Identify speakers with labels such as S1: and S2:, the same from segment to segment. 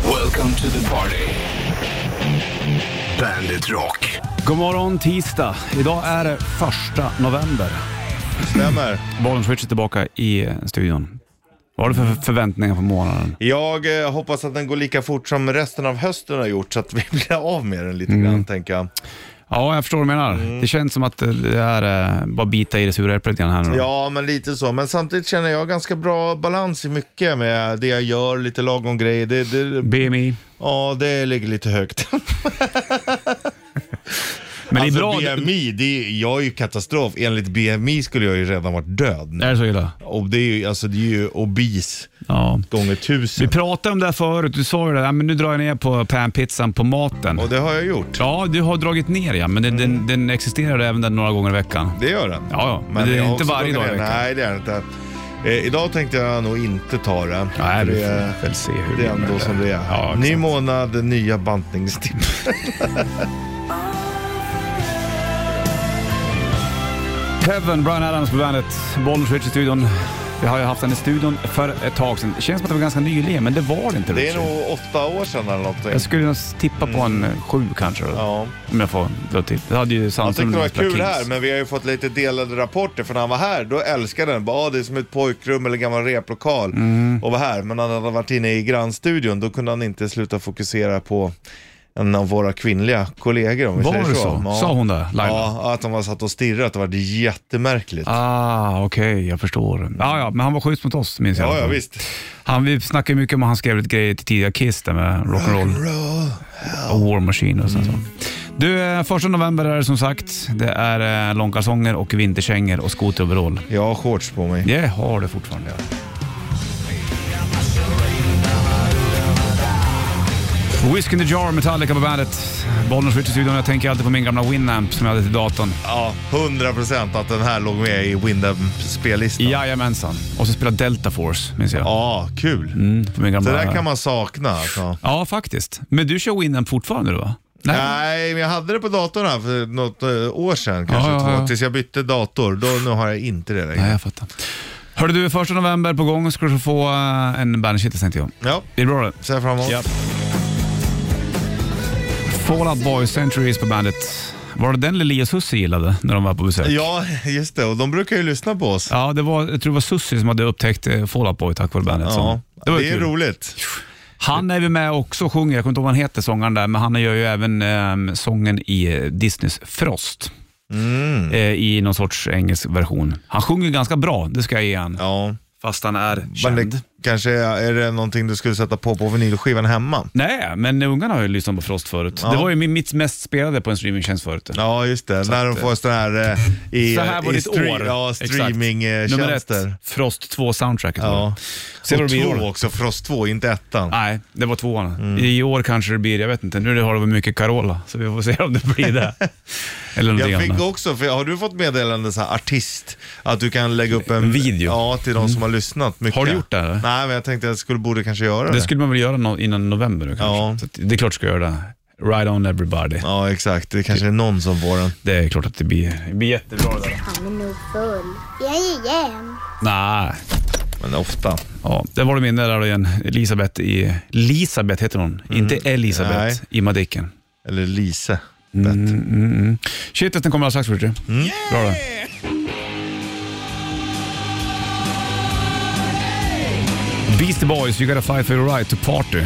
S1: Welcome to the party. Bandit Rock.
S2: God morgon tisdag. Idag är det första november.
S3: Stämmer.
S2: Bollen Switch är tillbaka i eh, studion. Vad har du för förväntningar på månaden?
S3: Jag eh, hoppas att den går lika fort som resten av hösten har gjort så att vi blir av med den
S2: Mm.
S3: lite grann, tänker jag.
S2: Ja, jag förstår vad du menar.
S3: Mm.
S2: Det känns som att eh, det är eh, bara bita i det sura äpplet igen här nu. då.
S3: Ja, men lite så. Men samtidigt känner jag ganska bra balans i mycket med det jag gör, lite lagom grejer. Det, det,
S2: BMI.
S3: ja, det ligger lite högt.
S2: Men
S3: alltså
S2: det är bra.
S3: BMI, det är, jag är ju katastrof. Enligt BMI skulle jag ju redan varit död.
S2: Är det så illa?
S3: Och det är ju, alltså, det är ju obese
S2: Ja.
S3: gånger
S2: Vi
S3: tusen.
S2: pratade om det här förut. Du sa ju det, ja, men nu drar jag ner på panpizzan på maten.
S3: Och det har jag gjort.
S2: Ja, du har dragit ner ja, men den,
S3: Mm.
S2: den, den existerar även där några gånger i veckan.
S3: Det gör den.
S2: Ja, ja, men det är
S3: jag har
S2: inte
S3: också
S2: varje
S3: plockat
S2: dag i
S3: ner den.
S2: veckan.
S3: Nej, det är det inte. Eh, idag tänkte jag nog inte ta det.
S2: Nej,
S3: För
S2: vi
S3: det,
S2: får
S3: är-
S2: väl se hur
S3: det är
S2: blir med
S3: ändå som det är.
S2: Ja,
S3: Ny
S2: exakt.
S3: månad, nya bantningstips.
S2: Kevin, Brian Adams på bandet, Bollnäs Rich i studion. Vi har ju haft henne i studion för ett tag sedan. Känns som att det var ganska nyligen, men det var det inte.
S3: Det är
S2: Richie.
S3: nog åtta år sedan eller någonting.
S2: Jag skulle nog tippa på en eh, sju kanske. Då.
S3: Ja.
S2: Om jag får dra till. Det hade ju
S3: Han tyckte
S2: Sandström
S3: det var
S2: spelat
S3: kul
S2: Kings.
S3: här, men vi har ju fått lite delade rapporter. För när han var här, då älskade han bara, ah, det är som ett pojkrum eller gammal replokal
S2: Mm.
S3: och var här. Men när han hade varit inne i grannstudion, då kunde han inte sluta fokusera på en av våra kvinnliga kollegor om vi
S2: Var
S3: säger
S2: det så?
S3: Ja.
S2: Sa hon det, Laila?
S3: Ja, att han var satt och stirrade, att det var jättemärkligt.
S2: Ah, okej, jag förstår. Ja, ja, men han var schysst mot oss, minns jag.
S3: ja, ja, visst.
S2: Han, vi snackade ju mycket om att han skrev lite grejer till tidiga Kiss där med rock'n'roll. och War Machine och sånt.
S3: Mm.
S2: Du, eh, första november är det som sagt. Det är eh, långkalsonger och vinterkängor och skoteroverall.
S3: Jag har shorts på mig.
S2: Det har du fortfarande. ja. Whisk in the Jar, Metallica på bandet. Bollnäs Ritchie studion. Jag tänker alltid på min gamla Winamp som jag hade till datorn.
S3: Ja, 100 procent att den här låg med i Windham-spellistan. Ja.
S2: Jajamensan. Och så spelade Delta Force, minns jag.
S3: kul.
S2: Mm, på min
S3: Det
S2: gamla...
S3: där kan man sakna alltså.
S2: Ja, faktiskt. Men du kör Winamp fortfarande då, va?
S3: Nej, men jag hade det på datorn här för något eh, år sedan, kanske
S2: Ja, ja,
S3: två,
S2: ja.
S3: tills jag bytte dator. Då, nu har jag inte det längre.
S2: Nej, jag fattar. Hörde du, första november på gång ska du få eh, en bandage tänkte jag.
S3: Ja,
S2: Det är bra det.
S3: ser jag fram emot.
S2: Ja. Fall Out Boys, Centuries på bandet. Var det den Lili och Susie gillade när de var på besök?
S3: Ja, just det. Och de brukar ju lyssna på oss.
S2: Ja, det var, jag tror det var Susie som hade upptäckt eh, Fall Out Boy tack vare bandet.
S3: Ja,
S2: Så Det var ju
S3: det är
S2: kul.
S3: roligt.
S2: Han är ju med också och sjunger, jag kommer inte ihåg vad han heter, sångaren där, men han gör ju även eh, sången i eh, Disneys Frost.
S3: Mm.
S2: Eh, I någon sorts engelsk version. Han sjunger ganska bra, det ska jag ge han.
S3: Ja,
S2: Fast han är känd.
S3: men det, kanske är, är det någonting du skulle sätta på på vinylskivan hemma?
S2: Nej, men ungarna har ju lyssnat på Frost förut. Det var ju min- mitt mest spelade på en streamingtjänst förut.
S3: Ja, just det. När de får sådana här eh, i,
S2: Så här var
S3: i
S2: ditt
S3: stre-
S2: år.
S3: ja,
S2: Exakt. Nummer ett,
S3: streamingtjänster.
S2: Frost 2 soundtracket var
S3: Ja.
S2: det. Se vad
S3: och
S2: det blir i
S3: två Mm.
S2: år.
S3: också, Frost 2, inte ettan.
S2: Nej, det var tvåan. I år kanske det blir, jag vet inte. Nu har det varit mycket Carola, så vi får se om det blir det. Eller någonting
S3: Jag fick
S2: annat.
S3: också, för har du fått meddelande så här artist, att du kan lägga upp en,
S2: En video? Mm.
S3: Ja, till de som har lyssnat mycket.
S2: Har du gjort det, eller?
S3: Nej, men jag tänkte att jag skulle, borde kanske göra det.
S2: Det skulle man väl göra no innan november nu kanske.
S3: Ja.
S2: Så att det är klart du ska göra det. Ride on everybody.
S3: Ja, exakt. Det kanske är någon som får den.
S2: Det är klart att det blir, det blir jättebra det där.
S4: Han är nog full. Jajamän.
S2: Nej.
S3: Men ofta.
S2: Ja, där var du inne där igen. Elisabeth i... Elisabeth heter hon, inte Elisabeth
S3: Mm. Nej.
S2: i Madicken.
S3: Eller Lise.
S2: Mm, mm, mm. Shit, den kommer alldeles strax, Richie. Bra det. Beastie Boys, You Gotta Fight For Your Right To Party,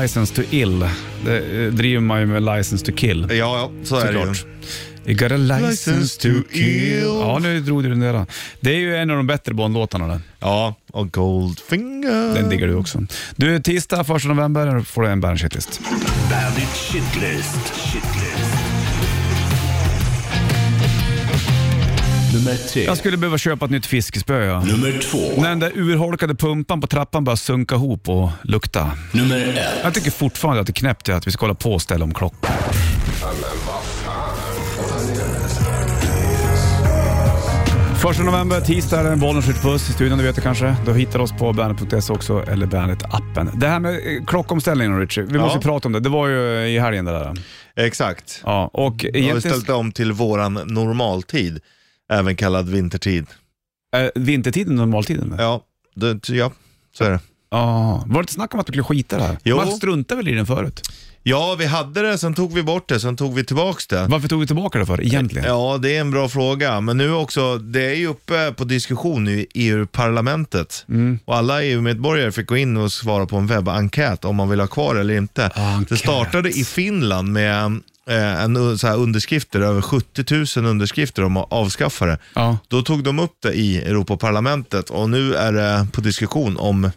S2: License To Ill. Det eh, driver man ju med License To Kill.
S3: Ja, ja, så är det
S2: Såklart.
S3: ju.
S2: You got a license
S3: License
S2: to
S3: to
S2: kill.
S3: ill.
S2: Ja, nu drog du den där. då. Det är ju en av de bättre Bond-låtarna den.
S3: Ja, och Goldfinger.
S2: Den diggar du också. Du, tisdag 1 november får du en Bandit Shitlist.
S1: Bandit Shitlist. Shitlist. Nummer tre.
S2: Jag skulle behöva köpa ett nytt fiskespö. Ja.
S1: Nummer två.
S2: När den där urholkade pumpan på trappan börjar sunka ihop och lukta.
S1: Nummer ett.
S2: Jag tycker fortfarande att det är knäppt att vi ska hålla på och ställa om klockan. Första november, tisdag, är det en Bollnäs skjutbuss i studion, du vet det kanske. Du hittar oss på bandet.se också, eller bandet-appen. Det här med eh, klockomställningen Richie, vi måste ju prata om det. Det var ju eh, i helgen det där.
S3: Exakt.
S2: Ja, och
S3: Jag har
S2: egentligen...
S3: ställt om till våran normaltid, även kallad vintertid.
S2: Äh, vintertiden, eh, normaltiden?
S3: Ja, det, ja så är det.
S2: Ja. Var det inte snack om att du skulle skita i det här?
S3: Jo.
S2: Man struntade väl i den förut?
S3: Ja, vi hade det, sen tog vi bort det, sen tog vi tillbaks det.
S2: Varför tog vi tillbaka det för egentligen?
S3: Ja, det är en bra fråga. Men nu också, det är ju uppe på diskussion i EU-parlamentet.
S2: Mm.
S3: Och alla EU-medborgare fick gå in och svara på en webbenkät om man vill ha kvar eller inte.
S2: Enkät.
S3: Det startade i Finland med eh, en, så här, underskrifter, över 70 000 underskrifter om att avskaffa det.
S2: Ja.
S3: Då tog de upp det i Europaparlamentet och nu är det på diskussion om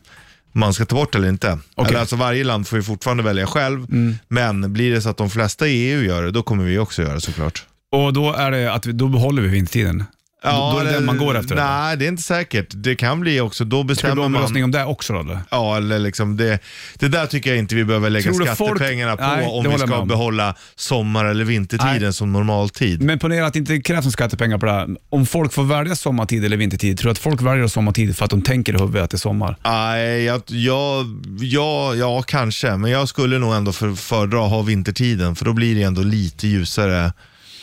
S3: man ska ta bort det eller inte.
S2: Okej. Mm.
S3: Eller alltså varje land får ju fortfarande välja själv, men blir det så att de flesta i EU gör det, då kommer vi också göra det såklart.
S2: Och då är det att vi, då behåller vi vinsttiden? då, då är det den man går efter? eller?
S3: Nej, det är inte säkert. Det kan bli också, då
S2: Ska det bli
S3: bestämmer
S2: omröstning
S3: man.
S2: om det också då eller?
S3: Ja, eller liksom det, det där tycker jag inte vi behöver lägga
S2: Tror du folk-
S3: skattepengarna på
S2: Nej, det
S3: om
S2: håller
S3: vi
S2: jag med
S3: ska
S2: om.
S3: behålla sommar eller vintertiden
S2: Nej.
S3: som normaltid.
S2: Men ponera att det inte krävs några skattepengar på det här. Om folk får välja sommartid eller vintertid, tror du att folk väljer sommartid för att de tänker i huvudet att det är sommar?
S3: Nej, jag, jag, ja, ja, kanske. Men jag skulle nog ändå för, föredra att ha vintertiden, för då blir det ändå lite ljusare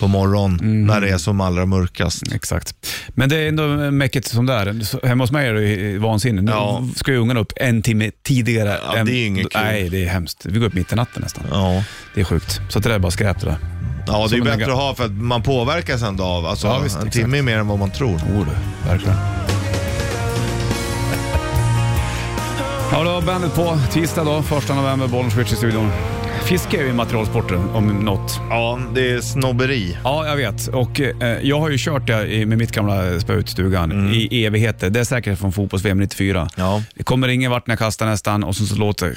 S3: på morgonen när det är som allra mörkast.
S2: Mhm. Exakt. Men det är ändå mäcket som det är. Så Hemma hos mig är det ju vansinne. Nu
S3: Ja.
S2: ska ju ungarna upp en timme tidigare.
S3: Ja,
S2: än-
S3: det är inget kul.
S2: Nej, det är hemskt. Vi går upp mitt i natten nästan.
S3: Ja,
S2: Det är sjukt. Så det där är bara skräp det där.
S3: ja det är
S2: en
S3: bättre
S2: lägga-
S3: att ha för att man påverkas ändå av. Alltså,
S2: Ja, visst,
S3: en
S2: exakt.
S3: timme är mer än vad man tror.
S2: Jo du, verkligen. Ja, då har bandet på. Tisdag då, första november, Bollnäs i studion. Fiske är ju materialsporten om något.
S3: Ja, det är snobberi.
S2: Ja, jag vet. Och eh, jag har ju kört det i- med mitt gamla spö ut i stugan i evigheter. Det är säkert från fotbolls-VM 94.
S3: Mm. Ja.
S2: Det kommer ingen vart när jag kastar nästan och sen så låter det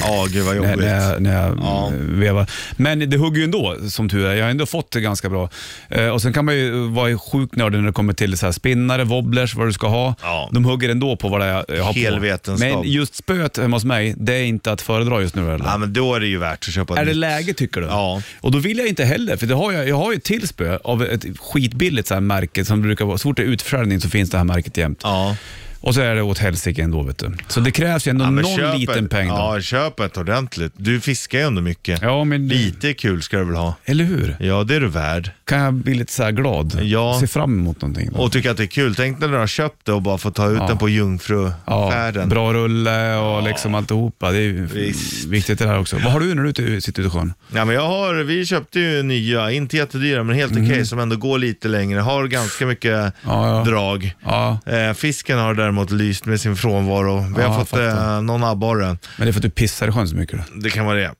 S3: Ja, gud vad
S2: när,
S3: jobbigt.
S2: när jag, när jag
S3: Ja.
S2: eh, vevar. Men det hugger ju ändå, som tur är. Jag har ändå fått det ganska bra. Eh, och Sen kan man ju vara sjukt nördig när det kommer till så här spinnare, wobblers, vad du ska ha.
S3: Ja.
S2: De hugger ändå på vad det är jag har på.
S3: Helvetenskap.
S2: Men just spöet hemma hos mig, det är inte att föredra just nu. Eller?
S3: Ja, men då är det ju värt att köpa
S2: Är det
S3: nytt.
S2: läge tycker du?
S3: Ja.
S2: Och då vill jag inte heller, för det har jag, jag har ju ett till spö av ett skitbilligt så här märke som brukar vara, så fort det är utförsäljning så finns det här märket jämt.
S3: Ja,
S2: Och så är det åt helsike ändå vet du. Så det krävs ju ändå
S3: ja, men
S2: någon
S3: köp
S2: liten
S3: ett,
S2: peng då.
S3: Ja, köp ett ordentligt. Du fiskar ju ändå mycket.
S2: Ja, men
S3: Lite kul ska du väl ha?
S2: Eller hur?
S3: Ja, det är du värd.
S2: Kan jag bli lite så här glad?
S3: Ja.
S2: Se fram emot någonting. Då.
S3: Och tycker att det är kul. Tänk när du har köpt det och bara får ta ut den på
S2: ja,
S3: jungfrufärden.
S2: bra rulle och liksom alltihopa. Det är ju
S3: Visst.
S2: viktigt det där också. Vad har du när du är ute- sitter ute i sjön?
S3: Ja, men jag har, vi köpte ju nya, inte jättedyra men helt okej som ändå går lite längre. Har ganska mycket
S2: Mm. Ja, ja.
S3: drag.
S2: Ja,
S3: Eh, fisken har däremot lyst med sin frånvaro. Vi
S2: Ja, jag
S3: har fått
S2: fattar.
S3: eh, någon abborre.
S2: men det är för att du pissar i sjön så mycket. Då.
S3: Det kan vara det.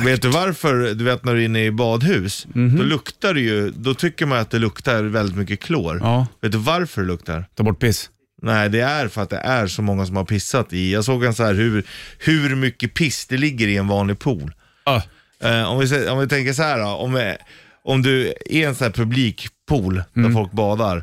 S3: vet du varför? Du vet när du är inne i badhus, då luktar det ju, då tycker man att det luktar väldigt mycket klor.
S2: Ja,
S3: Vet du varför det luktar?
S2: ta bort piss.
S3: Nej, det är för att det är så många som har pissat i. Jag såg en så här hur, hur mycket piss det ligger i en vanlig pool.
S2: Ah,
S3: Eh, om, vi, sä- om vi tänker så här då, om, eh, om du är en sån här publikpool där folk badar,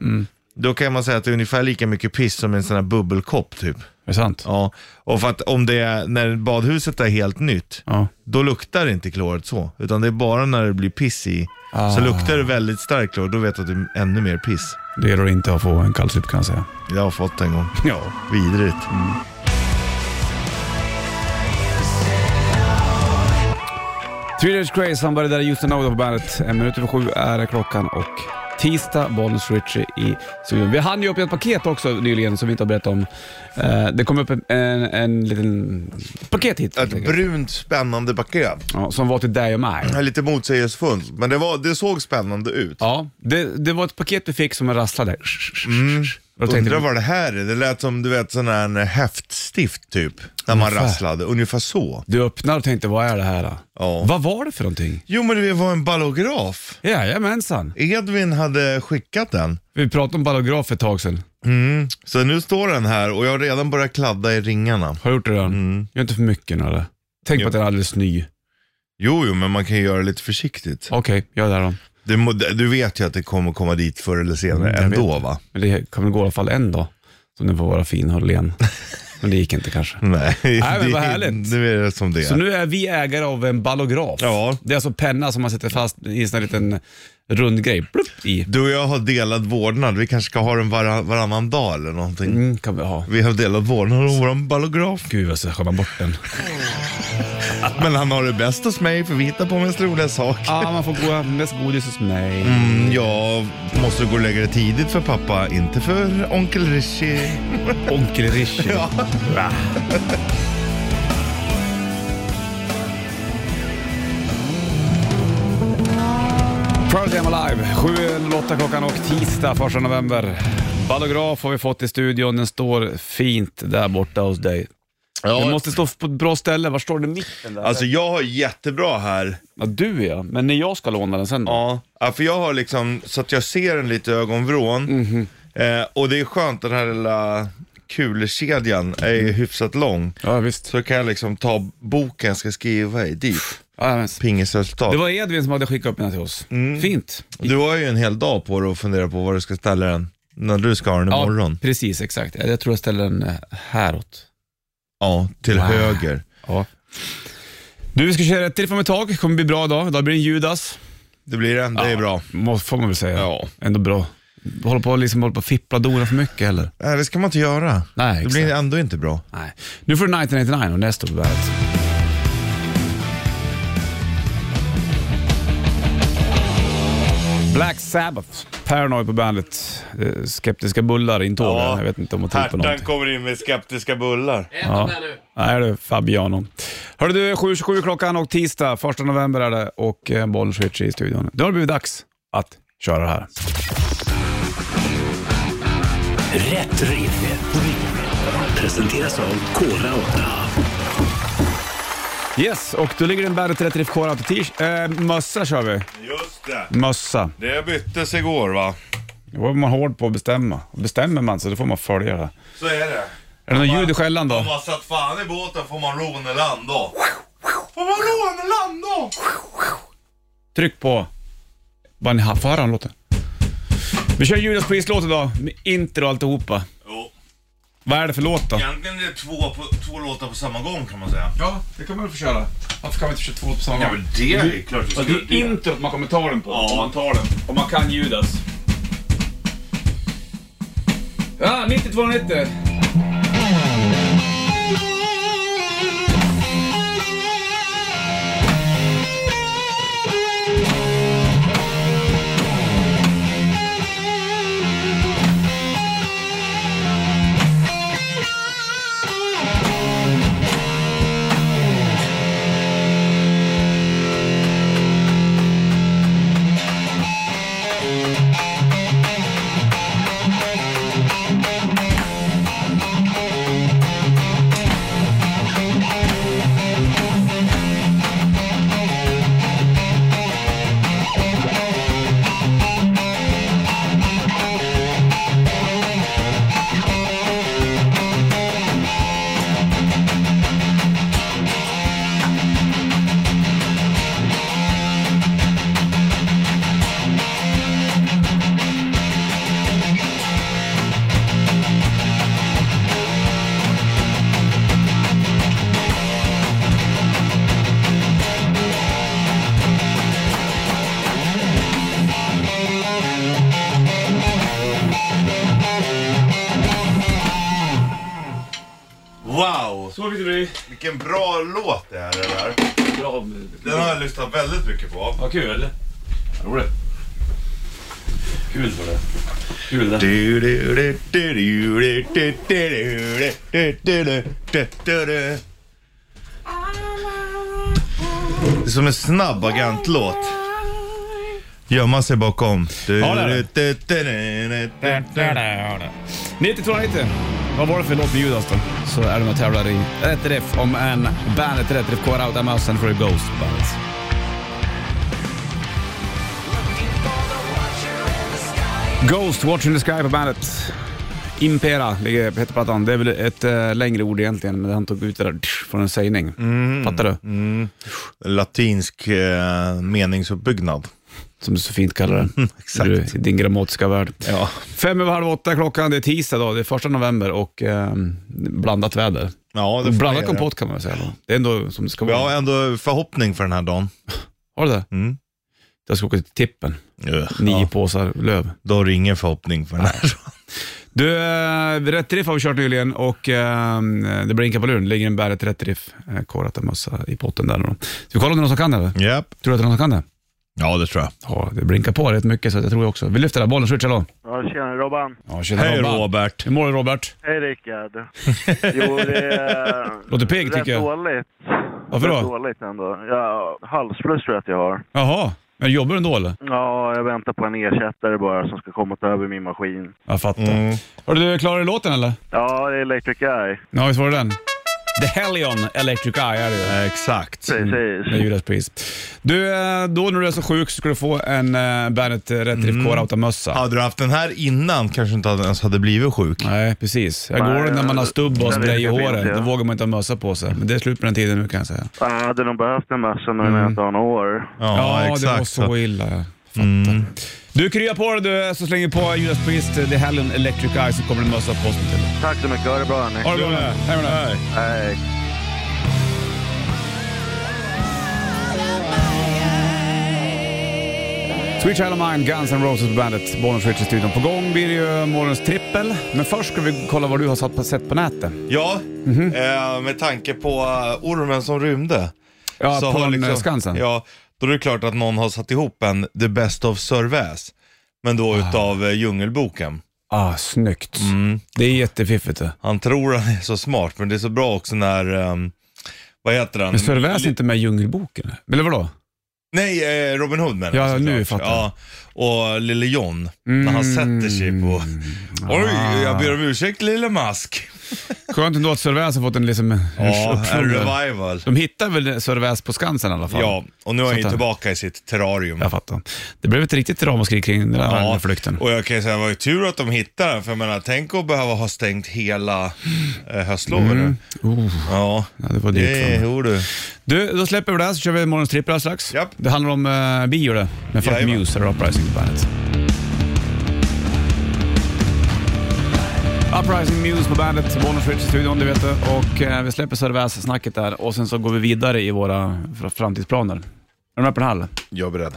S3: då kan man säga att det är ungefär lika mycket piss som en sån här bubbelkopp typ.
S2: är det sant?
S3: Ja, och för att om det är, när badhuset är helt nytt,
S2: Ja.
S3: då luktar det inte kloret så, utan det är bara när det blir piss i.
S2: Ah.
S3: Så luktar det väldigt starkt klor, då vet du att det är ännu mer piss.
S2: Det gäller att inte få en kallsup kan jag säga.
S3: Jag har fått en gång.
S2: Ja.
S3: Vidrigt.
S2: Mm, Three Days Grace, Somebody That I Used To Know då på bandet. En minut över sju är klockan och tisdag, Bollnäs Ritchie i studion. Vi hann ju upp ett paket också nyligen som vi inte har berättat om. Eh, det kom upp en, en, en liten paket hit. helt
S3: Ett
S2: enkelt.
S3: brunt spännande paket.
S2: Ja, som var till dig och mig.
S3: Det är Lite motsägelsefullt, men det, var, det såg spännande ut.
S2: Ja, det, det var ett paket vi fick som rasslade. Mm. Och då tänkte
S3: Undrar
S2: vi,
S3: vad det här är. Det lät som du vet sån här häftstift typ, när man
S2: Ungefär.
S3: rasslade. Ungefär så.
S2: du öppnade och tänkte, vad är det här då?
S3: Ja.
S2: Vad var det för någonting?
S3: Jo men det var en ballograf.
S2: Jajamensan.
S3: Edvin hade skickat den.
S2: Vi pratade om ballograf för ett tag sedan. Mm.
S3: Så nu står den här och jag har redan börjat kladda i ringarna.
S2: Har du gjort det redan? Gör inte för mycket nu eller? Tänk på
S3: Mm. Jo.
S2: att den är alldeles ny.
S3: Jo, jo, men man kan ju göra det lite försiktigt.
S2: Okej, gör det här då.
S3: Du, må- du vet ju att det kommer komma dit förr eller senare
S2: Mm, Jag vet
S3: ändå
S2: det.
S3: va?
S2: Men det kan väl gå i alla fall en dag som den får vara fin och len. Men det gick inte kanske.
S3: Nej,
S2: men
S3: det-
S2: vad härligt.
S3: Nu är det som det är.
S2: Så nu är vi ägare av en ballograf.
S3: Ja.
S2: Det är alltså penna som man sätter fast i en sån här liten rund grej plupp, i.
S3: Du och jag har delad vårdnad. Vi kanske ska ha den var, varannan dag eller någonting.
S2: Mm, kan vi ha.
S3: Vi har delat vårdnad om våran ballograf.
S2: Gud vad så skär man bort den.
S3: Men han har det bäst hos mig för vi hittar på mest roliga saker.
S2: Ja, man får gå mest godis hos mig.
S3: Mm, jag måste gå och lägga det tidigt för pappa, inte för onkel Rishi.
S2: Onkel Rishi.
S3: Ja.
S2: Va? Pearl Jam Alive, 7.08 klockan och tisdag 1 november. Ballograf har vi fått i studion, den står fint där borta hos dig. Den måste stå på ett bra ställe, var står den? Mitten där?
S3: Alltså jag har jättebra här.
S2: ja, du ja, men när jag ska låna den sen då?
S3: Ja, ja, för jag har liksom så att jag ser den lite i ögonvrån. Eh, och det är skönt, den här lilla kulkedjan är ju hyfsat lång.
S2: Ja, visst.
S3: Så kan jag liksom ta boken jag ska skriva i dit.
S2: Ja, men, Mm.
S3: Pingisresultat.
S2: det var Edvin som hade skickat upp den här till oss. Fint.
S3: Du har ju en hel dag på dig att fundera på var du ska ställa den. När du ska ha den imorgon.
S2: Ja, precis, exakt. Jag tror jag ställer den eh, häråt.
S3: Ja, till
S2: Wow.
S3: höger.
S2: Ja. Du, vi ska köra ett till från ett tag. Det kommer bli bra idag. Idag blir det en Judas.
S3: Det blir den, det är bra.
S2: Må, får man väl säga.
S3: Ja.
S2: Ändå bra. Håller på liksom, håller på att fippla Dora för mycket heller.
S3: Nej, det ska man inte göra.
S2: Nej,
S3: det blir ändå inte bra.
S2: Nej. Nu får du 1999 och nästa på bandet. Black Sabbath, Paranoid på bandet. Eh, Skeptiska bullar intåg. Jag vet inte om man tror på någonting.
S3: kommer in med skeptiska bullar.
S2: Ja. Nej du, Fabiano. Hörru du, 7.27 klockan och tisdag, 1 november är det och eh, Bollswitch i studion. Då har det blivit dags att köra det här.
S1: Rätt riff. Presenteras av Kora 8.
S2: Yes, och då ligger det en Bandet 30 FK Out t-shirt. Eh, mössa kör vi.
S3: Just det.
S2: Mössa.
S3: Det byttes igår va?
S2: Det var man hård på att bestämma. Bestämmer man så då får man följa det.
S3: Så är det.
S2: Är det någon ljud i skällan då?
S3: man satt fan i båten får man råneland då. Får man råneland då?
S2: Tryck på... Vad ni har för den låten. Vi kör Judas Priest-låt idag, med intro och alltihopa.
S3: Jo.
S2: Vad är det för låt då?
S3: Egentligen är det två, på, två låtar på samma gång kan man säga.
S2: Ja, det kan man väl få köra. Varför kan vi inte köra två på samma
S3: Ja men det är ju klart vi
S2: Ja,
S3: ska
S2: det
S3: göra
S2: är introt man kommer ta den på.
S3: Ja.
S2: Om man tar den. Om man kan Judas. Ja, 9290.
S3: Wow!
S2: Så fick det bli.
S3: Vilken bra låt det här är. Där.
S2: Bra.
S3: Den har jag lyssnat väldigt mycket på.
S2: Vad kul. Roligt. Kul var det. Kul det.
S3: Det är som en snabb agentlåt. Gömma sig bakom.
S2: Ja, det är 9290. Vad var det för låt med Judas då? Så är det med och tävlar i Rätt Riff om en Bandet Rätt Riff Core Out Amassen för Ghost Bands. Ghost Watching the Sky på Bandet. Impera ligger- heter plattan. Det är väl ett eh, längre ord egentligen, men han tog ut det där tsch, från en sägning. Fattar du?
S3: Latinsk eh, meningsuppbyggnad.
S2: Som du så fint kallar det.
S3: Mm, exakt.
S2: Du, I din grammatiska värld.
S3: Ja.
S2: Fem över halv åtta klockan, det är tisdag då, det är första november och eh, blandat väder.
S3: Ja, det får man
S2: Blandad
S3: göra.
S2: kompott kan man väl säga. Då. Det är ändå som det ska
S3: Jag
S2: vara.
S3: har ändå förhoppning för den här dagen.
S2: Har du det?
S3: Mm.
S2: Jag ska åka till tippen. Nio
S3: Ja.
S2: påsar löv.
S3: Då har du ingen förhoppning för den här.
S2: Du, eh, Rätt Riff har vi kört nyligen och eh, det blinkar på luren. Det ligger en bäret Rätt Riff eh, korat en mössa i potten där. nu då. Ska vi kolla om det är någon som kan det? Eller?
S3: Japp.
S2: Tror du att det är någon som kan det?
S3: Ja, det tror jag.
S2: Ja, det blinkar på rätt mycket så att jag tror jag också. Vi lyfter den här bollen. Switch, hallå.
S5: Ja, tjena Robban.
S2: Ja, tjena
S3: Hej
S2: Robban.
S3: Robert.
S2: Hur mår du Robert?
S5: Hej Rickard. Jo, det är...
S2: Låter pigg, tycker jag.
S5: Rätt dåligt.
S2: Varför
S5: Rätt
S2: då?
S5: dåligt ändå. Ja, halsfluss tror jag att jag har.
S2: Jaha, men jobbar du ändå eller?
S5: Ja, jag väntar på en ersättare bara som ska komma och ta över min maskin.
S2: Jag fattar.
S3: Mm.
S2: Har du klarat låten eller?
S5: Ja, det är Electric Eye.
S2: Ja, visst var det den? The Hellion Electric Eye är det ju. Mm.
S3: Exakt.
S5: Precis.
S2: Med Judas Priest. Du, eh, då när du är så sjuk så ska du få en eh, Bandet eh, Rätt Riff Core-Outa-mössa.
S3: Hade du haft den här innan kanske inte hade- ens hade blivit sjuk.
S2: Nej, precis. Jag
S5: Nej,
S2: går det när man har stubb och
S5: jag
S2: spray i
S5: vet, jag vet,
S2: håret.
S5: ja.
S2: Då vågar man inte ha mössa på sig. Men det är slut på den tiden nu kan jag säga.
S5: Jag hade nog behövt en mössa nu när jag inte har några år.
S2: Ja,
S3: Ja,
S2: det var
S3: exakt.
S2: så Mm. illa. Jag fattar. Du krya på dig du, så slänger vi på Judas Priest, eh, The Hellion Electric Eye, så kommer det en mössa på posten till dig.
S5: Tack så mycket. Ha det bra hörni.
S2: Ha det bra nu. Hej med dig.
S5: Hej.
S2: Sweet Child of Mine, Guns N' Roses på bandet. Bonus Rich i studion. På gång blir det ju morgons trippel. Men först ska vi kolla vad du har satt på, sett på nätet.
S3: Ja,
S2: Mhm.
S3: eh, med tanke på eh, ormen som rymde.
S2: Ja,
S3: så
S2: på
S3: har
S2: liksom, Skansen.
S3: Ja, då är det klart att någon har satt ihop en The Best of Sörväs. Men då utav eh, Djungelboken.
S2: Ah, snyggt.
S3: Mm.
S2: Det är jättefiffigt det.
S3: Han tror han är så smart, men det är så bra också när, ehm, vad heter han?
S2: Men Sörväs är inte med i Djungelboken? Eller vadå?
S3: Nej, eh, Robin Hood menar
S2: Ja,
S3: såklart.
S2: nu fattar jag.
S3: ja, Och Lille John, när
S2: Mm.
S3: han sätter sig på...
S2: Ah.
S3: Oj, jag ber om ursäkt Lille Mask.
S2: Skönt ändå att Sörväs har fått en liksom...
S3: Ja, en
S2: uppföljare.
S3: revival.
S2: De hittar väl Sörväs på Skansen i alla fall?
S3: Ja, och nu är han ju
S2: Sånt där.
S3: tillbaka i sitt terrarium.
S2: eh, Jag fattar. Det blev ett riktigt ramaskri kring den här flykten.
S3: och jag kan ju säga, det var ju tur att de hittade den, för jag menar, tänk att behöva ha stängt hela eh, höstlovet nu.
S2: Oh,
S3: Ja,
S2: ja, det var dyrt för
S3: det
S2: dem.
S3: gjorde du.
S2: Du, då släpper vi det här så kör vi morgons trippel alldeles strax.
S3: Japp.
S2: Det handlar om uh, bio det, med Fuck
S3: Jajamän.
S2: Muse eller Uprising på bandet. Uprising Muse på bandet, Bonus Rich i studion, det vet du. Och eh, vi släpper Cervaz-snacket där och sen så går vi vidare i våra fr- framtidsplaner. Är du med på den här?
S3: Jag är beredd.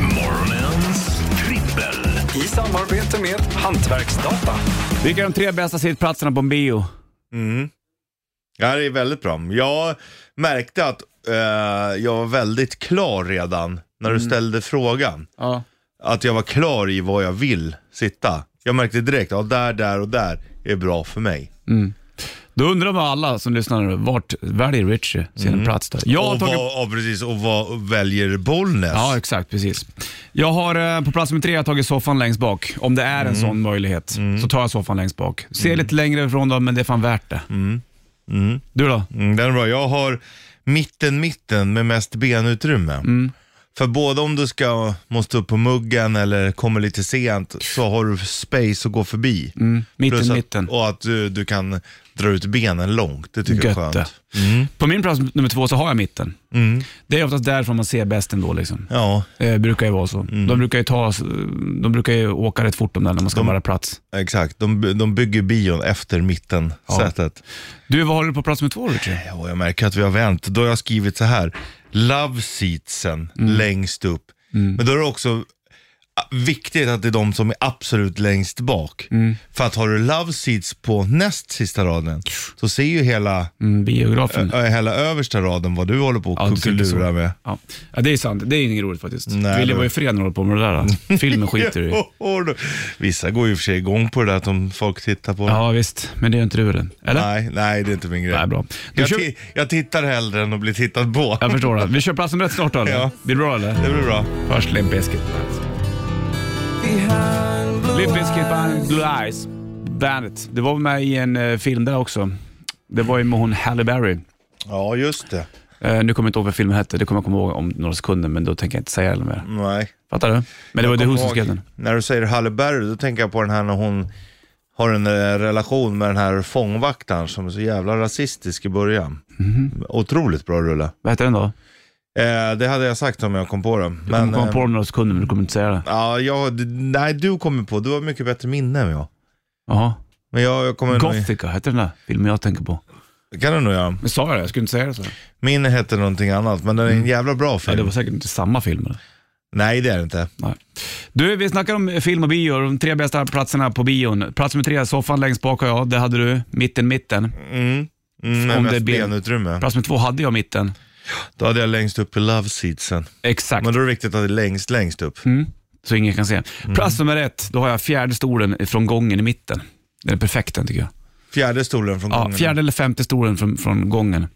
S1: Morgonens trippel.
S6: I samarbete med Hantverksdata.
S2: Vilka är de tre bästa sittplatserna på en bio?
S3: Mm. Ja, det är väldigt bra. Jag märkte att eh, jag var väldigt klar redan när
S2: Mm.
S3: du ställde frågan.
S2: Ja.
S3: Att jag var klar i vad jag vill sitta. Jag märkte direkt, ja där, där och där är bra för mig.
S2: Då undrar man alla som lyssnar, nu, vart väljer Richie sin plats där? Jag har
S3: Mm. och,
S2: tagit...
S3: vad, ja, precis, och vad väljer Bollnäs?
S2: Ja, exakt. Precis. Jag har eh, på plats nummer tre jag har tagit soffan längst bak. Om det är en
S3: Mm.
S2: sån möjlighet så tar jag soffan längst bak. Ser lite längre ifrån då, men det är fan värt det. Du då?
S3: Mm, den är bra. Jag har mitten, mitten med mest benutrymme.
S2: Mm.
S3: För både om du ska, måste upp på muggen eller kommer lite sent så har du space att gå förbi.
S2: Mitten,
S3: Plus att,
S2: mitten.
S3: Och att du, du kan dra ut benen långt. Det tycker jag är
S2: Gött det.
S3: skönt. Mm.
S2: På min plats nummer två så har jag mitten.
S3: Mm.
S2: Det är oftast därifrån man ser bäst ändå. Liksom.
S3: Ja,
S2: Det brukar ju vara så.
S3: Mm.
S2: De, brukar ju ta, de brukar ju åka rätt fort de där när man ska vara plats.
S3: exakt. De, by- de bygger bion efter mitten sätet.
S2: Du, vad har du på plats nummer två Richie?
S3: Ja, och jag märker att vi har vänt. Då har jag skrivit så här. Love seatsen
S2: Mm.
S3: längst upp. Men då är det också ah, viktigt att det är de som är absolut längst bak.
S2: Mm.
S3: För att har du love seats på näst sista raden så ser ju hela,
S2: Mm, biografen.
S3: ö, hela översta raden vad du håller på
S2: Ja, det
S3: att
S2: är inte så.
S3: kuckelura med.
S2: Ja. ja, det är sant. Det är inget roligt faktiskt.
S3: Nej,
S2: Ville
S3: det-
S2: var ju fred när du håller på med det där. då. Filmen skiter du i.
S3: Jo, du. Vissa går ju för sig igång på det där att de folk tittar på.
S2: Ja, visst. Men det är inte du eller? Eller?
S3: Nej, nej, det är inte min grej.
S2: Nej, bra. Du
S3: Jag,
S2: kör-
S3: ti- jag tittar hellre än att bli tittad på.
S2: Jag förstår det. Vi kör platsen rätt snart då eller?
S3: Ja.
S2: Blir det bra eller?
S3: Det blir bra.
S2: Först Limp Bizkit. Limp Bizkit Band Blue Eyes. Bandet. Det var med i en eh, film där också. Det var ju med hon Halle Berry.
S3: Ja, just det.
S2: Eh, nu kommer jag inte ihåg vad filmen hette. Det kommer jag komma ihåg om några sekunder, men då tänker jag inte säga det mer.
S3: Nej.
S2: Fattar du? Men det var ju The Who som skrev den.
S3: När du säger Halle Berry, då tänker jag på den här när hon har en eh, relation med den här fångvaktaren som är så jävla rasistisk i början.
S2: Mhm.
S3: Otroligt bra rulle.
S2: Vad hette den då?
S3: Eh, det hade jag sagt om jag kom på det.
S2: Du kommer komma
S3: eh,
S2: på den om några sekunder, men du kommer inte säga det.
S3: Ja, jag, d- nej, du kommer på. Du har mycket bättre minne än jag.
S2: Jaha.
S3: Men jag, jag kommer nog-
S2: Gothica, hette den där filmen jag tänker på?
S3: Det kan du nog göra.
S2: Men sa jag det? Jag skulle inte säga det så.
S3: Min hette någonting annat, men den är en jävla bra
S2: Mm. Ja,
S3: film.
S2: det var säkert inte samma film. Eller?
S3: Nej, det är det inte.
S2: Nej. Du, vi snackar om film och bio. De tre bästa platserna på bion. Plats nummer tre, soffan längst bak har jag. Det hade du. Mitten, mitten.
S3: Mm. Mm, med
S2: Om
S3: mest
S2: det blir-
S3: benutrymme.
S2: Plats nummer två hade jag mitten.
S3: Då hade jag längst upp i love seatsen.
S2: Exakt.
S3: Men då Mm. är det viktigt att det är längst, längst upp.
S2: Mm. Så ingen kan se. Plats nummer ett, då har jag fjärde stolen från gången i mitten. Den är perfekt den tycker jag.
S3: Fjärde stolen från
S2: Ja,
S3: gången. Mm.
S2: fjärde eller femte stolen från, från gången.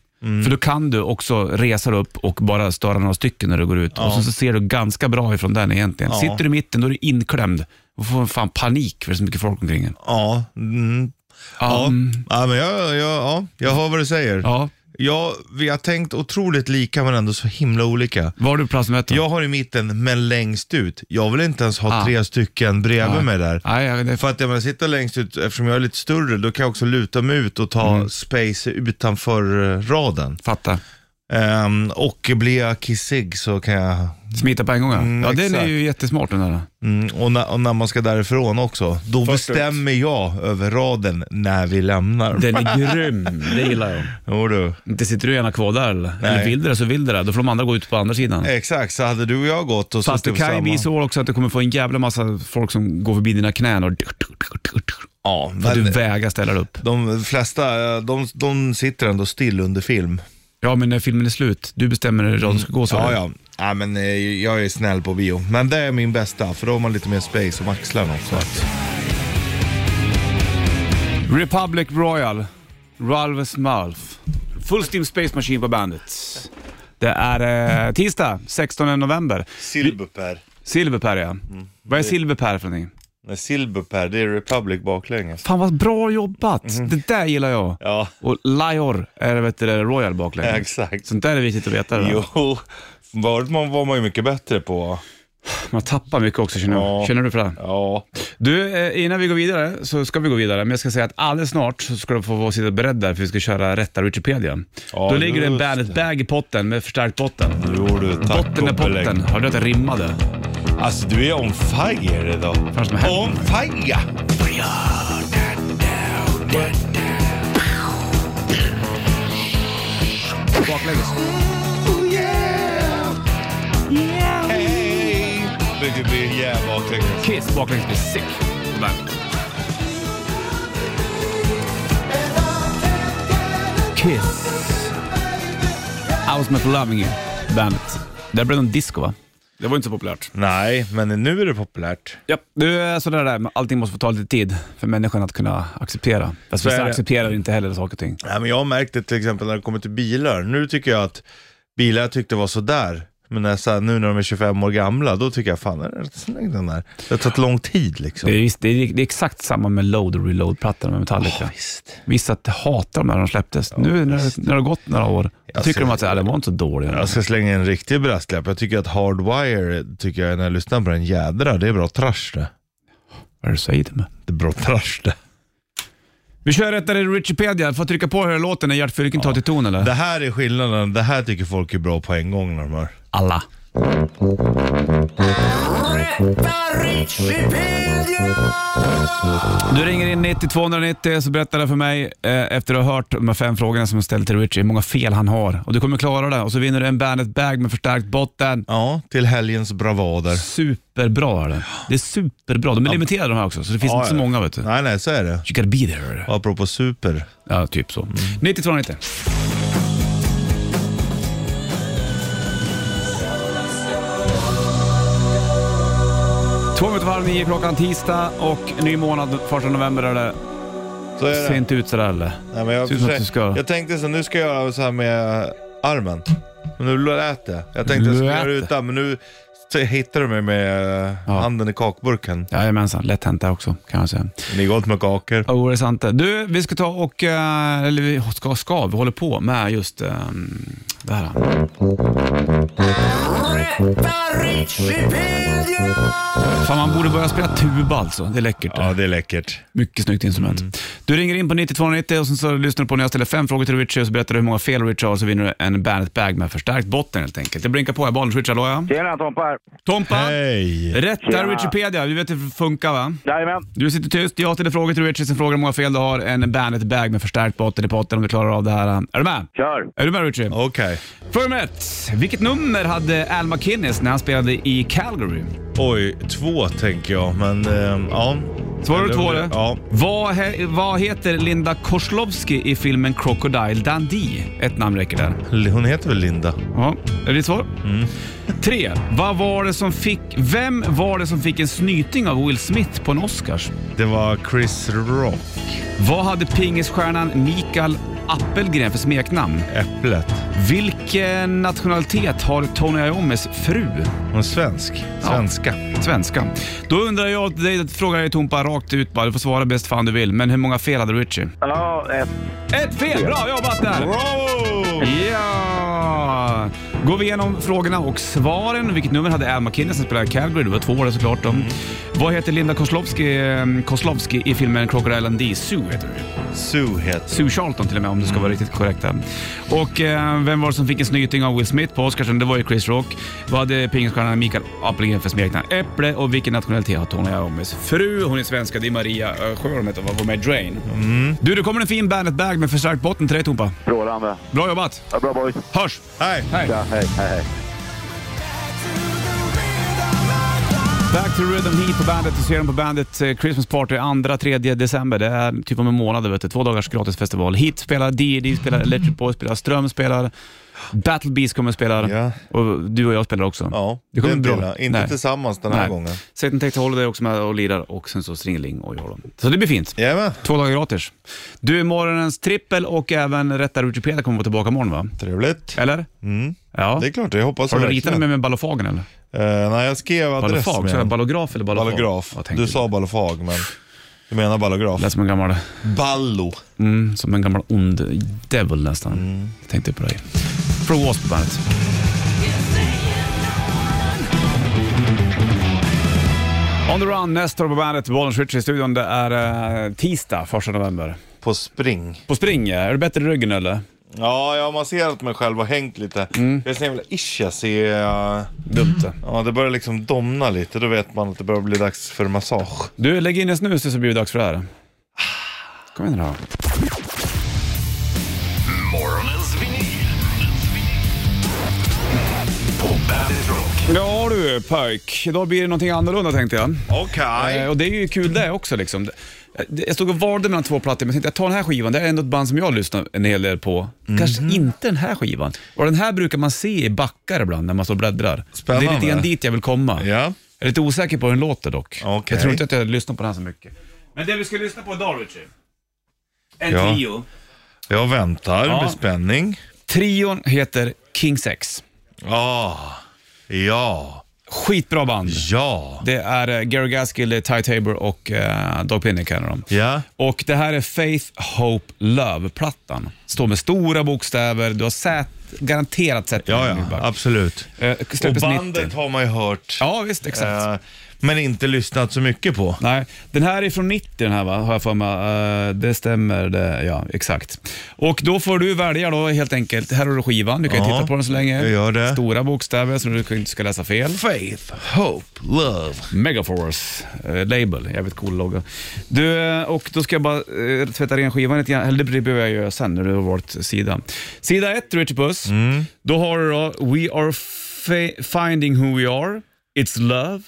S2: För då kan du också resa dig upp och bara störa några stycken när du går ut. Och så, så ser du ganska bra ifrån den egentligen.
S3: Ja.
S2: Sitter du i mitten då är du inklämd och får fan panik för det är så mycket folk omkring en.
S3: Ja, mm. ja.
S2: Um,
S3: ja men jag, jag, ja, jag hör vad du säger.
S2: ja.
S3: Ja, vi har tänkt otroligt lika men ändå så himla olika.
S2: Var du på plats nummer ett då?
S3: Jag har i mitten, men längst ut. Jag vill inte ens ha
S2: Ah.
S3: tre stycken bredvid mig där.
S2: Nej, jag- det,
S3: För att jag menar, sitta längst ut, eftersom jag är lite större, då kan jag också luta mig ut och ta
S2: Mm.
S3: space utanför eh, raden.
S2: fattar.
S3: Ehm, och blir jag kissig så kan jag,
S2: Smita på en gång ja.
S3: Mm,
S2: ja den är
S3: exakt.
S2: ju jättesmart den där.
S3: mm, och, na, och när man ska därifrån också, då
S2: Först ut.
S3: bestämmer jag över raden när vi lämnar.
S2: Den är grym, det gillar jag.
S3: Jo, du.
S2: Inte sitter du gärna kvar där eller?
S3: Nej.
S2: Eller vill du det så vill du det. Då får de andra gå ut på andra sidan.
S3: Exakt, så hade du och jag gått och
S2: Fast det
S3: suttit på
S2: kan ju
S3: samma.
S2: bli så också att du kommer få en jävla massa folk som går förbi dina knän och
S3: Ja,
S2: för att du
S3: men
S2: vägrar ställa dig upp.
S3: de flesta, eh, de, de sitter ändå still under film.
S2: Ja, men när filmen är slut, du bestämmer hur du ska gå så.
S3: Mm. Ja, ja. ja men, eh, jag är snäll på bio. Men det är min bästa, för då har man lite mer space om axlarna också.
S2: Republic Royal, Ralves Malf. Full Steam Space Machine på bandet. Det är eh, tisdag 16 november.
S3: Silberpär.
S2: Silverpär ja.
S3: Mm.
S2: Vad är silverpär för någonting?
S3: Nej, Silberpär, det är Republic baklänges.
S2: Fan vad bra jobbat!
S3: Mhm.
S2: Det där gillar jag.
S3: Ja,
S2: Och Lior är vet du, det, Royal baklänges.
S3: exakt.
S2: Sånt där är viktigt att veta. va?
S3: Jo, förut man- var man ju mycket bättre på.
S2: Man tappar mycket också känner,
S3: Ja.
S2: jag. känner du för det?
S3: Ja,
S2: Du, eh, innan vi går vidare så ska vi gå vidare, men jag ska säga att alldeles snart så ska du få vara sitta beredd där för vi ska köra rätta Wikipedia.
S3: Ja,
S2: Då ligger det en
S3: just
S2: Bandet Bag i potten med förstärkt botten.
S3: jo du. Tack
S2: Botten är
S3: och belägg.
S2: potten. Hörde du att jag rimmade?
S3: Alltså du är on fire idag.
S2: Vad som händer?
S3: On fire!
S2: Baklänges.
S3: Hey! Men det blir jävla baklänges.
S2: Kiss baklänges blir sick. Bandet. Kiss. I was meant for loving you. Bandet. Det blev en disco va? Det var inte så populärt.
S3: Nej, men nu är det populärt.
S2: Ja, du är sådär där, men allting måste få ta lite tid för människan att kunna acceptera. Fast
S3: Så är
S2: vissa
S3: det.
S2: accepterar inte heller saker och ting.
S3: Nej, men jag har märkt det till exempel när det kommer till bilar. Nu tycker jag att bilar jag tyckte var sådär. Men när jag, så här, nu när de är 25 år gamla, då tycker jag fan är det rätt snygg den där. Det har tagit lång tid liksom.
S2: Det är, visst- det är, det är exakt samma med load och reload-plattorna med Metallica.
S3: Ja, visst.
S2: vissa att hatar dem när de släpptes. nu när, det- när det har gått några år, då
S3: Jag
S2: tycker
S3: ser-
S2: de att så här, den var inte så dålig.
S3: Jag ska slänga en riktig brasklapp. Jag tycker att Hardwire, tycker jag när jag lyssnar på den, jädra det är bra trash det.
S2: Vad är det du säger till mig?
S3: Det är bra trash det.
S2: Vi kör rättare Richipedia. Får jag trycka på hela låten när Gert Fylking tar till ton eller?
S3: Det här är skillnaden. Det här tycker folk är bra på en gång när de hör.
S2: Alla. Du ringer in 9290 så berättar du för mig eh, efter att ha hört de här fem frågorna som jag ställde till Richie hur många fel han har. Och du kommer klara det och så vinner du en Bandet Bag med förstärkt botten.
S3: Ja, till helgens bravader.
S2: Superbra är det. Det är superbra. De är limiterade de här också så det finns
S3: Ja,
S2: inte så
S3: ja.
S2: många vet du.
S3: Nej, nej, så är det.
S2: You gotta be there.
S3: Apropå super.
S2: Ja, typ så.
S3: Mm.
S2: 9290. Två minuter varv nio klockan tisdag och ny månad, första november är det.
S3: Så är
S2: Ser
S3: det.
S2: inte ut sådär eller?
S3: Nej, men jag,
S2: Ser ut som att du ska-
S3: jag tänkte så nu ska jag göra så här med armen. Men nu lät det. Jag tänkte jag skulle
S2: Lät
S3: göra
S2: det.
S3: utan, men nu så hittar du mig med eh,
S2: Ja.
S3: handen i kakburken.
S2: Jajamensan, lätt hänt där också kan jag säga.
S3: Det är gott med kakor.
S2: Jo, det är sant det. Du, vi ska ta och, eh, eller vi ska, ska, vi håller på med just eh, Där han. Fan, man borde börja spela tuba alltså. Det är läckert. det.
S3: Ja, Mm. det är läckert.
S2: Mycket snyggt instrument. Du ringer in på 9290 och sen så lyssnar du på när jag ställer fem frågor till Richie och så berättar du hur många fel Richie har så vinner du en Bandet-bag med förstärkt botten helt enkelt. Det blinkar på här. Barnens Richie, hallå ja.
S5: Tjena Tompa här.
S2: Tompa!
S3: Hej!
S2: Rätt där
S5: Tjena.
S2: Wikipedia. Du vet hur det funkar va?
S5: Jajamän.
S2: Du sitter tyst, jag ställer frågor till Richie, sen frågar hur många fel du har. En Bandet-bag med förstärkt botten i potten om du klarar av det här. Är du med?
S5: Kör.
S2: Är du med Richie?
S3: Okej.
S2: Fråga nummer ett. Vilket nummer hade Al McKinnis när han spelade i Calgary?
S3: Oj, två tänker jag, men ehm, ja.
S2: Svarar du
S3: Eller
S2: två
S3: om
S2: det?
S3: Ja.
S2: Vad, he, vad heter Linda Korslovski i filmen Crocodile Dundee? Ett namn räcker där.
S3: Hon heter väl Linda?
S2: Ja, är det ditt svar?
S3: Mm.
S2: Tre. Vad var det som fick, vem var det som fick en snyting av Will Smith på en Oscars?
S3: Det var Chris Rock.
S2: Vad hade pingisstjärnan Mikael Appelgren för smeknamn?
S3: Äpplet.
S2: Vilken nationalitet har Tony Iommis fru?
S3: Hon är svensk. Svenska.
S2: Svenska. Då undrar jag dig, frågar jag dig Tompa rakt ut bara. Du får svara bäst fan du vill. Men hur många fel hade Richie?
S5: Ja, ett.
S2: Ett fel! Bra jobbat där!
S3: Bravo!
S2: Ja! Går vi igenom frågorna och svaren. Vilket nummer hade Al McKinnon som spelade i Calgary? Det var två år såklart. Då. Vad heter Linda Kozlovski, eh, Kozlovski i filmen Crocodile and D? Sue heter det.
S3: Sue heter
S2: Sue Charlton till och med om du ska vara riktigt korrekt där. Och eh, vem var det som fick en snyting av Will Smith på Oscarsen? Det var ju Chris Rock. Vad hade pingisstjärnan Mikael Appelgren för smeknamn? Äpple. Och vilken nationalitet har Tony Iommis fru? Hon är svenska. Det är Maria eh, Sjöholm heter hon. Hon var med i Drain. Du, det kommer en fin Bandet-bag med förstärkt botten till dig Tompa.
S5: Strålande.
S2: Bra jobbat!
S5: Ja, bra boys.
S2: Hörs!
S3: Hej!
S2: Hej!
S5: Ja, hej, hej, hej.
S2: Back to Rhythm Heat på bandet. Du ser dem på bandet eh, Christmas Party 2-3 december. Det är typ om en månad, vet du. två dagars gratisfestival. Hit spelar, D&D spelar, Electric Boy spelar, Ström spelar, Battle Beast kommer att spela
S3: Ja.
S2: och du och jag spelar också.
S3: Ja,
S2: det kommer
S3: den
S2: bli bra.
S3: killen. Inte
S2: Nej.
S3: tillsammans den här gången.
S2: Satan Tech Holiday också med och lirar och sen så Stringeling och jag då. Så det blir fint.
S3: Jajamän.
S2: Två dagar gratis. Du, morgonens trippel och även Rätta Wikipedia kommer vara tillbaka imorgon va?
S3: Trevligt.
S2: Eller?
S3: Mm.
S2: Ja.
S3: Det är klart, jag hoppas
S2: Har du
S3: verkligen.
S2: ritat med, med ballofagen eller?
S3: Eh, nej, jag skrev adress
S2: Ballofag? Sa jag ballograf eller ballofag?
S3: Ballograf.
S2: Jag tänkte
S3: Du
S2: det.
S3: sa ballofag, men du menar ballograf.
S2: Lät som en gammal,
S3: Ballo.
S2: mm, som en gammal ond devil nästan.
S3: Mm.
S2: Jag tänkte på dig. Från Wasp på bandet. On the run, Nestor på bandet, Bollens Ritchie i studion. Det är eh, tisdag, 1 november.
S3: På spring.
S2: På spring, ja. är du bättre i ryggen eller?
S3: Ja, jag har masserat mig själv och hängt lite.
S2: Mm.
S3: Det är sån jävla ischias i... eh,
S2: Dumt det.
S3: Ja, det börjar liksom domna lite. Då vet man att det börjar bli dags för massage.
S2: Du, lägg in en snus så blir det dags för det här. Kom igen då.
S1: Morgonens vinyl. På Bandit Rock.
S2: Ja du pojk, idag blir det någonting annorlunda tänkte jag.
S3: Okej.
S2: Eh, Och det är ju kul det också liksom. Det- det- Jag stod och valde mellan två plattor, men jag tänkte jag tar den här skivan, det är ändå ett band som jag lyssnar en hel del på.
S3: Mhm.
S2: Kanske inte den här skivan. Och den här brukar man se i backar ibland när man står och bläddrar.
S3: Spännande.
S2: Det är lite grann dit jag vill komma.
S3: Ja.
S2: Jag är lite osäker på hur den låter dock.
S3: Okej.
S2: Jag tror inte att jag lyssnar på den här så mycket. Men det vi ska lyssna på idag Richie, en
S3: Ja.
S2: trio.
S3: Jag väntar
S2: Ja.
S3: med spänning.
S2: Trion heter King Sex.
S3: Ah. Ja.
S2: Skitbra band.
S3: Ja.
S2: Det är eh, Gary Gaskill, det är Ty Tabor och eh, Doug Pinnick kallar de.
S3: Ja.
S2: Och det här är Faith, Hope, Love-plattan. Står med stora bokstäver, du har sett, garanterat sett
S3: Ja,
S2: den.
S3: ja. Absolut.
S2: Eh,
S3: Och
S2: Släpptes 90.
S3: bandet har man ju hört.
S2: Ja, visst, exakt.
S3: eh, Men inte lyssnat så mycket på.
S2: Nej, den här är från 90 den här va, har jag för mig. Eh, det stämmer, det, ja exakt. Och då får du välja då helt enkelt. Här har du skivan, du kan ju
S3: Ja,
S2: titta på den så länge.
S3: jag gör det.
S2: Stora bokstäver så du inte ska läsa fel.
S3: Faith, hope, love.
S2: Megaforce eh, label, jävligt cool logga. Du, eh, och då ska jag bara eh, tvätta ren skivan lite grann, eller det behöver jag göra sen när du har valt sida. Sida 1, Richard Puss. Då har du då We are fa- finding who we are. It's love,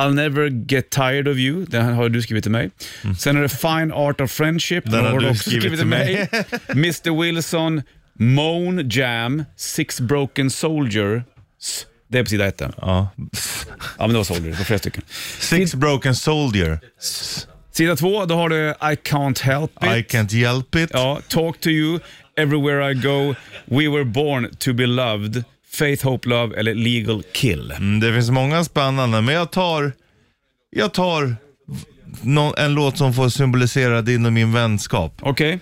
S2: I'll never get tired of you. Den här har du skrivit till mig. Sen är det Fine Art of Friendship. Den
S3: Mm. har
S2: har
S3: du
S2: också
S3: skrivit till mig.
S2: Mr Wilson, Moan Jam, Six Broken Soldiers. Det är på sida 1. Ja,
S3: Ja.
S2: men det var Soldier, det var flera stycken.
S3: Six broken soldier.
S2: Sida två, då har du I can't help it.
S3: I can't help it.
S2: Ja, talk to you, everywhere I go, we were born to be loved, faith, hope, love eller legal kill.
S3: Mm, Det finns många spännande, men jag tar, jag tar någon, en låt som får symbolisera din och min vänskap.
S2: Okej,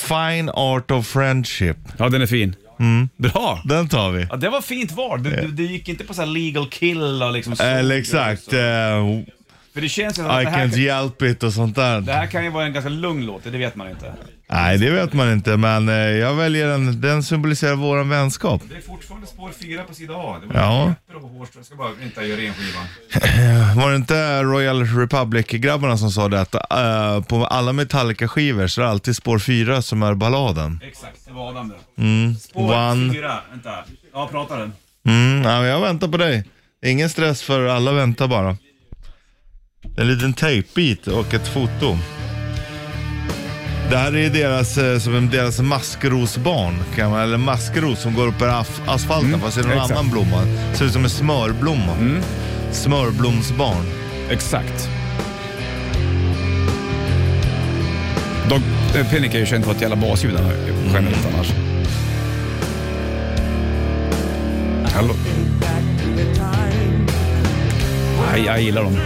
S3: Fine Art of Friendship.
S2: ja den är fin.
S3: Mm.
S2: Bra!
S3: Den tar vi.
S2: Ja, det var fint val. Du, du, du gick inte på så här legal kill och liksom... så-
S3: Eller exakt. eh,
S2: För det känns ju som att
S3: I
S2: det här,
S3: can't help it och sånt där.
S2: det här kan ju vara en ganska lugn låt, det vet man inte.
S3: Nej, det vet man inte, men eh, jag väljer den. Den symboliserar våran vänskap.
S2: Det är fortfarande spår 4 på sida A. Det var
S3: Ja.
S2: bra på hårstrå. Jag ska bara inte göra ren skivan.
S3: Var det inte Royal Republic-grabbarna som sa det att eh, på alla Metallica-skivor så är det alltid spår fyra som är balladen?
S2: Exakt, det var Adam det. Spår
S3: Mm. One.
S2: 4, vänta. Ja, prata den.
S3: Mm, ja, men jag väntar på dig. Ingen stress för alla väntar bara. En liten tejpbit och ett foto. Det här är deras, eh, som en- deras maskrosbarn, kan man, eller maskros som går upp över af- asfalten fast det är någon
S2: Mm, exakt. Mm.
S3: annan blomma. Ser ut som en smörblomma. Smörblomsbarn.
S2: Exakt. Dog, eh, Pinnick är ju känt för ett jävla basljud han har ju generellt annars. Hallå. Nej, jag gillar dem.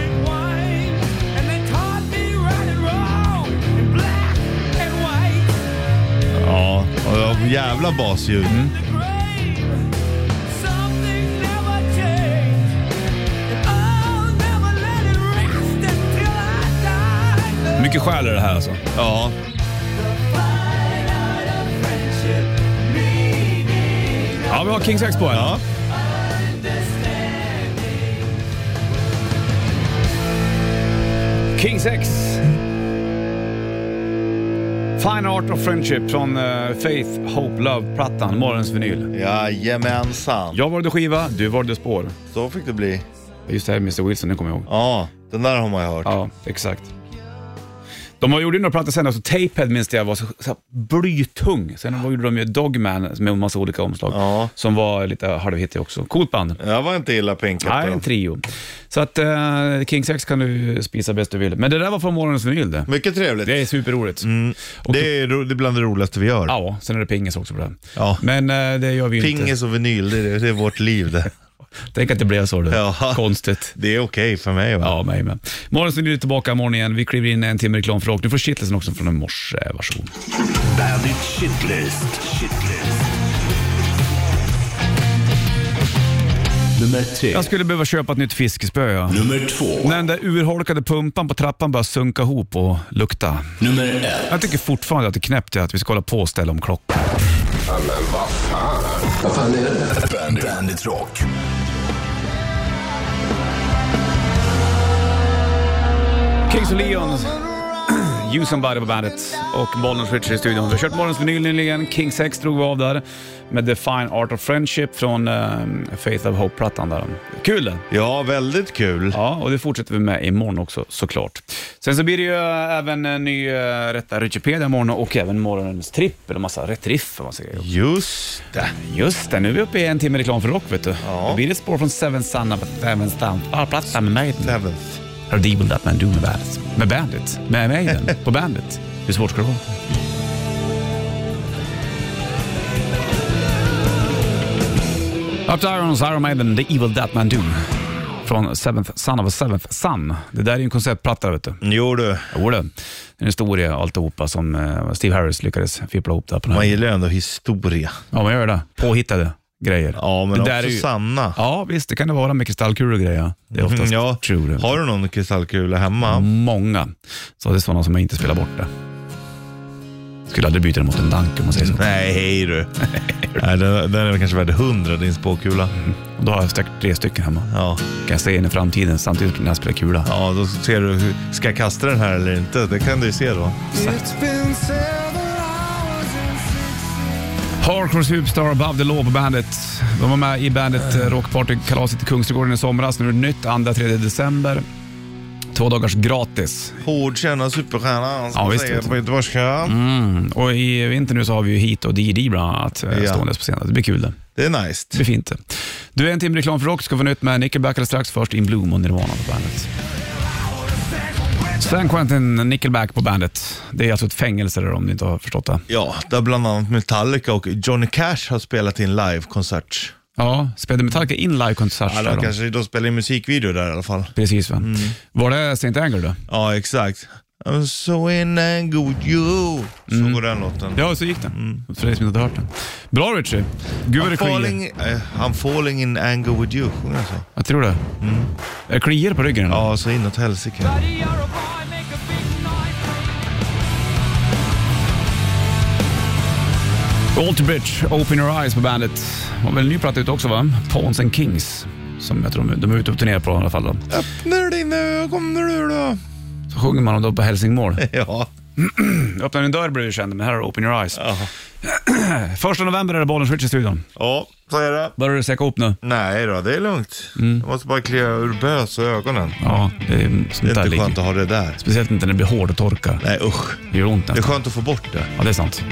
S3: Ja, och det var jävla basljud.
S2: Mm. Mycket själ i det här alltså.
S3: Ja.
S2: Ja, vi har Kings X på här.
S3: ja.
S2: Kings X. Fine Art of Friendship från eh, Faith Hope Love-plattan, morgonens vinyl.
S3: Jajamensan.
S2: Jag valde skiva, du valde spår.
S3: Så fick det bli.
S2: Just det här Mr Wilson, det kommer jag ihåg.
S3: Ja, den där har man ju hört.
S2: Ja, exakt. De har gjort några plattor sen, alltså Tapehead minns jag var så, så här blytung. Sen gjorde de ju Dogman med en massa olika omslag,
S3: Ja.
S2: som var lite halvhittig också. Coolt band.
S3: Jag var inte illa pinkat
S2: Nej,
S3: då.
S2: en trio. Så att eh, King 6 kan du spisa bäst du vill. Men det där var från morgonens vinyl det.
S3: Mycket trevligt.
S2: Det är superroligt.
S3: Mm.
S2: Och
S3: Det är, ro- det är bland det roligaste vi gör.
S2: Ja, sen är det pingis också på det.
S3: Ja.
S2: Men eh, det gör vi ju inte.
S3: Pingis och vinyl, det är, det är vårt liv det.
S2: Tänk att det blev så du.
S3: Ja.
S2: Konstigt.
S3: Det är okej för mig va?
S2: Ja, mig med. Morgonens vinyl är tillbaka imorgon igen. Vi kliver in en timme reklam för rock. Du får kittelsen också från en morse. Eh, Varsågod.
S1: Bandit Shitlist. Shitlist. Nummer tre.
S2: Jag skulle behöva köpa ett nytt fiskespö. Ja.
S1: Nummer två.
S2: När den där urholkade pumpan på trappan börjar sunka ihop och lukta.
S1: Nummer ett.
S2: Jag tycker fortfarande att det är knäppt att vi ska hålla på och ställa om klockan.
S1: Bandit, Bandit Rock.
S2: Kings of Leon, You Somebody på bandet och Bollnäs Richard i studion. Vi har kört morgons vinyl nyligen. King 6 drog vi av där med The Fine Art of Friendship från ehm, Faith of Hope-plattan. där. Kul! det.
S3: Ja, väldigt kul.
S2: Ja, och det fortsätter vi med imorgon också såklart. Sen så blir det ju eh, även en ny eh, Rätta Richipedia imorgon och även morgonens trippel och massa rätt riff och massa grejer.
S3: Just det.
S2: Just det, nu är vi uppe i en timme reklam för rock vet du.
S3: Ja.
S2: Då blir det spår från Seven Sun på Seven Sun. Ah, plattan med Maiden.
S3: Seventh.
S2: Har du Evil That Man Do med Bandit? Med Bandit? Med Maiden? på Bandit? Hur svårt ska det vara? Up to Irons, Iron Maiden, The Evil That Man Do. Från Seventh Son of a Seventh Son. Det där är ju en konceptplatta vet du.
S3: Jo du,
S2: Jo det. En historia alltihopa som eh, Steve Harris lyckades fippla ihop där på den här.
S3: man gillar ju ändå historia.
S2: Ja, man gör det. Påhittade grejer.
S3: Ja, men
S2: det
S3: också
S2: där är ju-
S3: sanna.
S2: Ja, visst. Det kan det vara med kristallkulor och grejer. Det är oftast
S3: Mm, ja.
S2: true. det. Mm.
S3: Har du någon kristallkula hemma?
S2: Många. Så det är sådana som jag inte spelar bort det. Skulle aldrig byta den mot en dank om man säger så.
S3: Nej, hej du. Nej, den, den är väl kanske värd 100, din spåkula.
S2: Och då har jag säkert tre stycken hemma.
S3: Ja.
S2: Kan jag se in i framtiden samtidigt när jag spelar kula.
S3: ja, då ser du, hur- ska jag kasta den här eller inte? Det kan du ju se då.
S2: Hardcore Superstar Above the Law på bandet. De var med i bandet eh, Rockparty-kalaset i Kungsträdgården i somras. Nu är det nytt, 2-3 december. Två dagars gratis.
S3: Hård känna superstjärna, som
S2: Ja,
S3: man
S2: visst,
S3: säger
S2: visst.
S3: på göteborgska.
S2: Och i vinter nu så har vi ju Heat och DD bland annat eh,
S3: Ja.
S2: ståendes på scenen. Det blir kul det.
S3: Det är nice.
S2: Det blir fint det. Du, är en timme reklam för rock ska få nytt med Nickelback alldeles strax. Först In Bloom och Nirvana på bandet. San Quentin Nickelback på bandet. Det är alltså ett fängelse där om ni inte har förstått det.
S3: Ja, där bland annat Metallica och Johnny Cash har spelat in livekonsert.
S2: Ja, spelade Metallica in livekonsert
S3: Ja, Mm.
S2: där
S3: de
S2: då?
S3: kanske de spelar in musikvideo där i alla fall.
S2: Precis va? Var det St. Anger då?
S3: Ja, exakt. I'm so in and good you. Så går den låten.
S2: Ja, så gick den. För dig som inte har hört den. Bra Richie. Gud vad det
S3: I'm Mm. falling,
S2: kliar.
S3: eh, I'm falling in anger with you, sjunger han så?
S2: Jag tror det. Är det kliar på ryggen? eller?
S3: Mm. Ja, så inåt helsike.
S2: Alter Bridge, Open Your Eyes på bandet. Har väl en ny platta ute också va? Pawns and Kings. Som jag tror de, de är ute och turnerar på i alla fall. Då.
S3: Öppnar dina ögon nu då.
S2: Så sjunger man om dem på hälsingmål.
S3: Ja.
S2: Mm, Öppnar en dörr blir du känd, men här har du Open Your Eyes. Första november är det Bollens Richie i studion.
S3: Ja, så är det.
S2: Börjar du säcka upp nu?
S3: Nej då, det är lugnt. Jag måste bara klia ur bös och ögonen.
S2: Ja, det är
S3: Det
S2: sånt
S3: är
S2: där
S3: inte
S2: ligger.
S3: skönt att ha det där.
S2: Speciellt inte när det blir hård och torka.
S3: Nej usch.
S2: Det gör ont
S3: Det är
S2: nästan.
S3: skönt att få bort det.
S2: Ja, det är sant.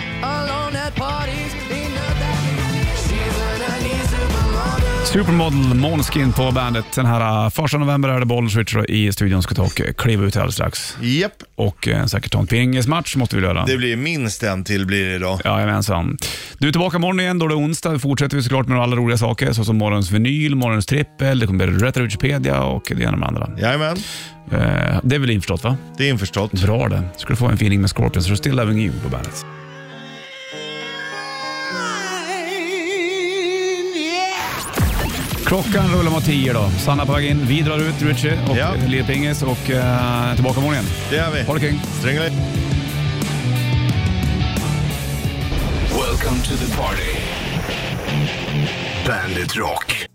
S2: Supermodel Måneskin på bandet. Den här eh, första november är det Bollens Richie i studion. Ska ta och eh, kliva ut alldeles strax.
S3: Japp.
S2: Och eh, säkert ta en pingismatch måste vi göra.
S3: Det blir minst en till blir det idag.
S2: Jajamensan. Du är tillbaka imorgon igen, då är det onsdag. Vi fortsätter vi såklart med alla roliga saker, såsom morgonens vinyl, morgonens trippel, det kommer bli Retrovichipedia och det ena med det andra.
S3: Jajamän,
S2: Eh, det är väl införstått va?
S3: det är införstått.
S2: Bra det. Ska du få en feeling med Scorpions, så Still Loving You på bandet. Klockan rullar mot tio då. Sanna på väg in, vi drar ut Richie och
S3: Ja.
S2: eh, Lill Pingis och eh, tillbaka imorgon igen.
S3: Det är
S2: Ha det
S3: vi.
S2: kring.
S3: Strängla
S1: Welcome to the party. Bandit Rock.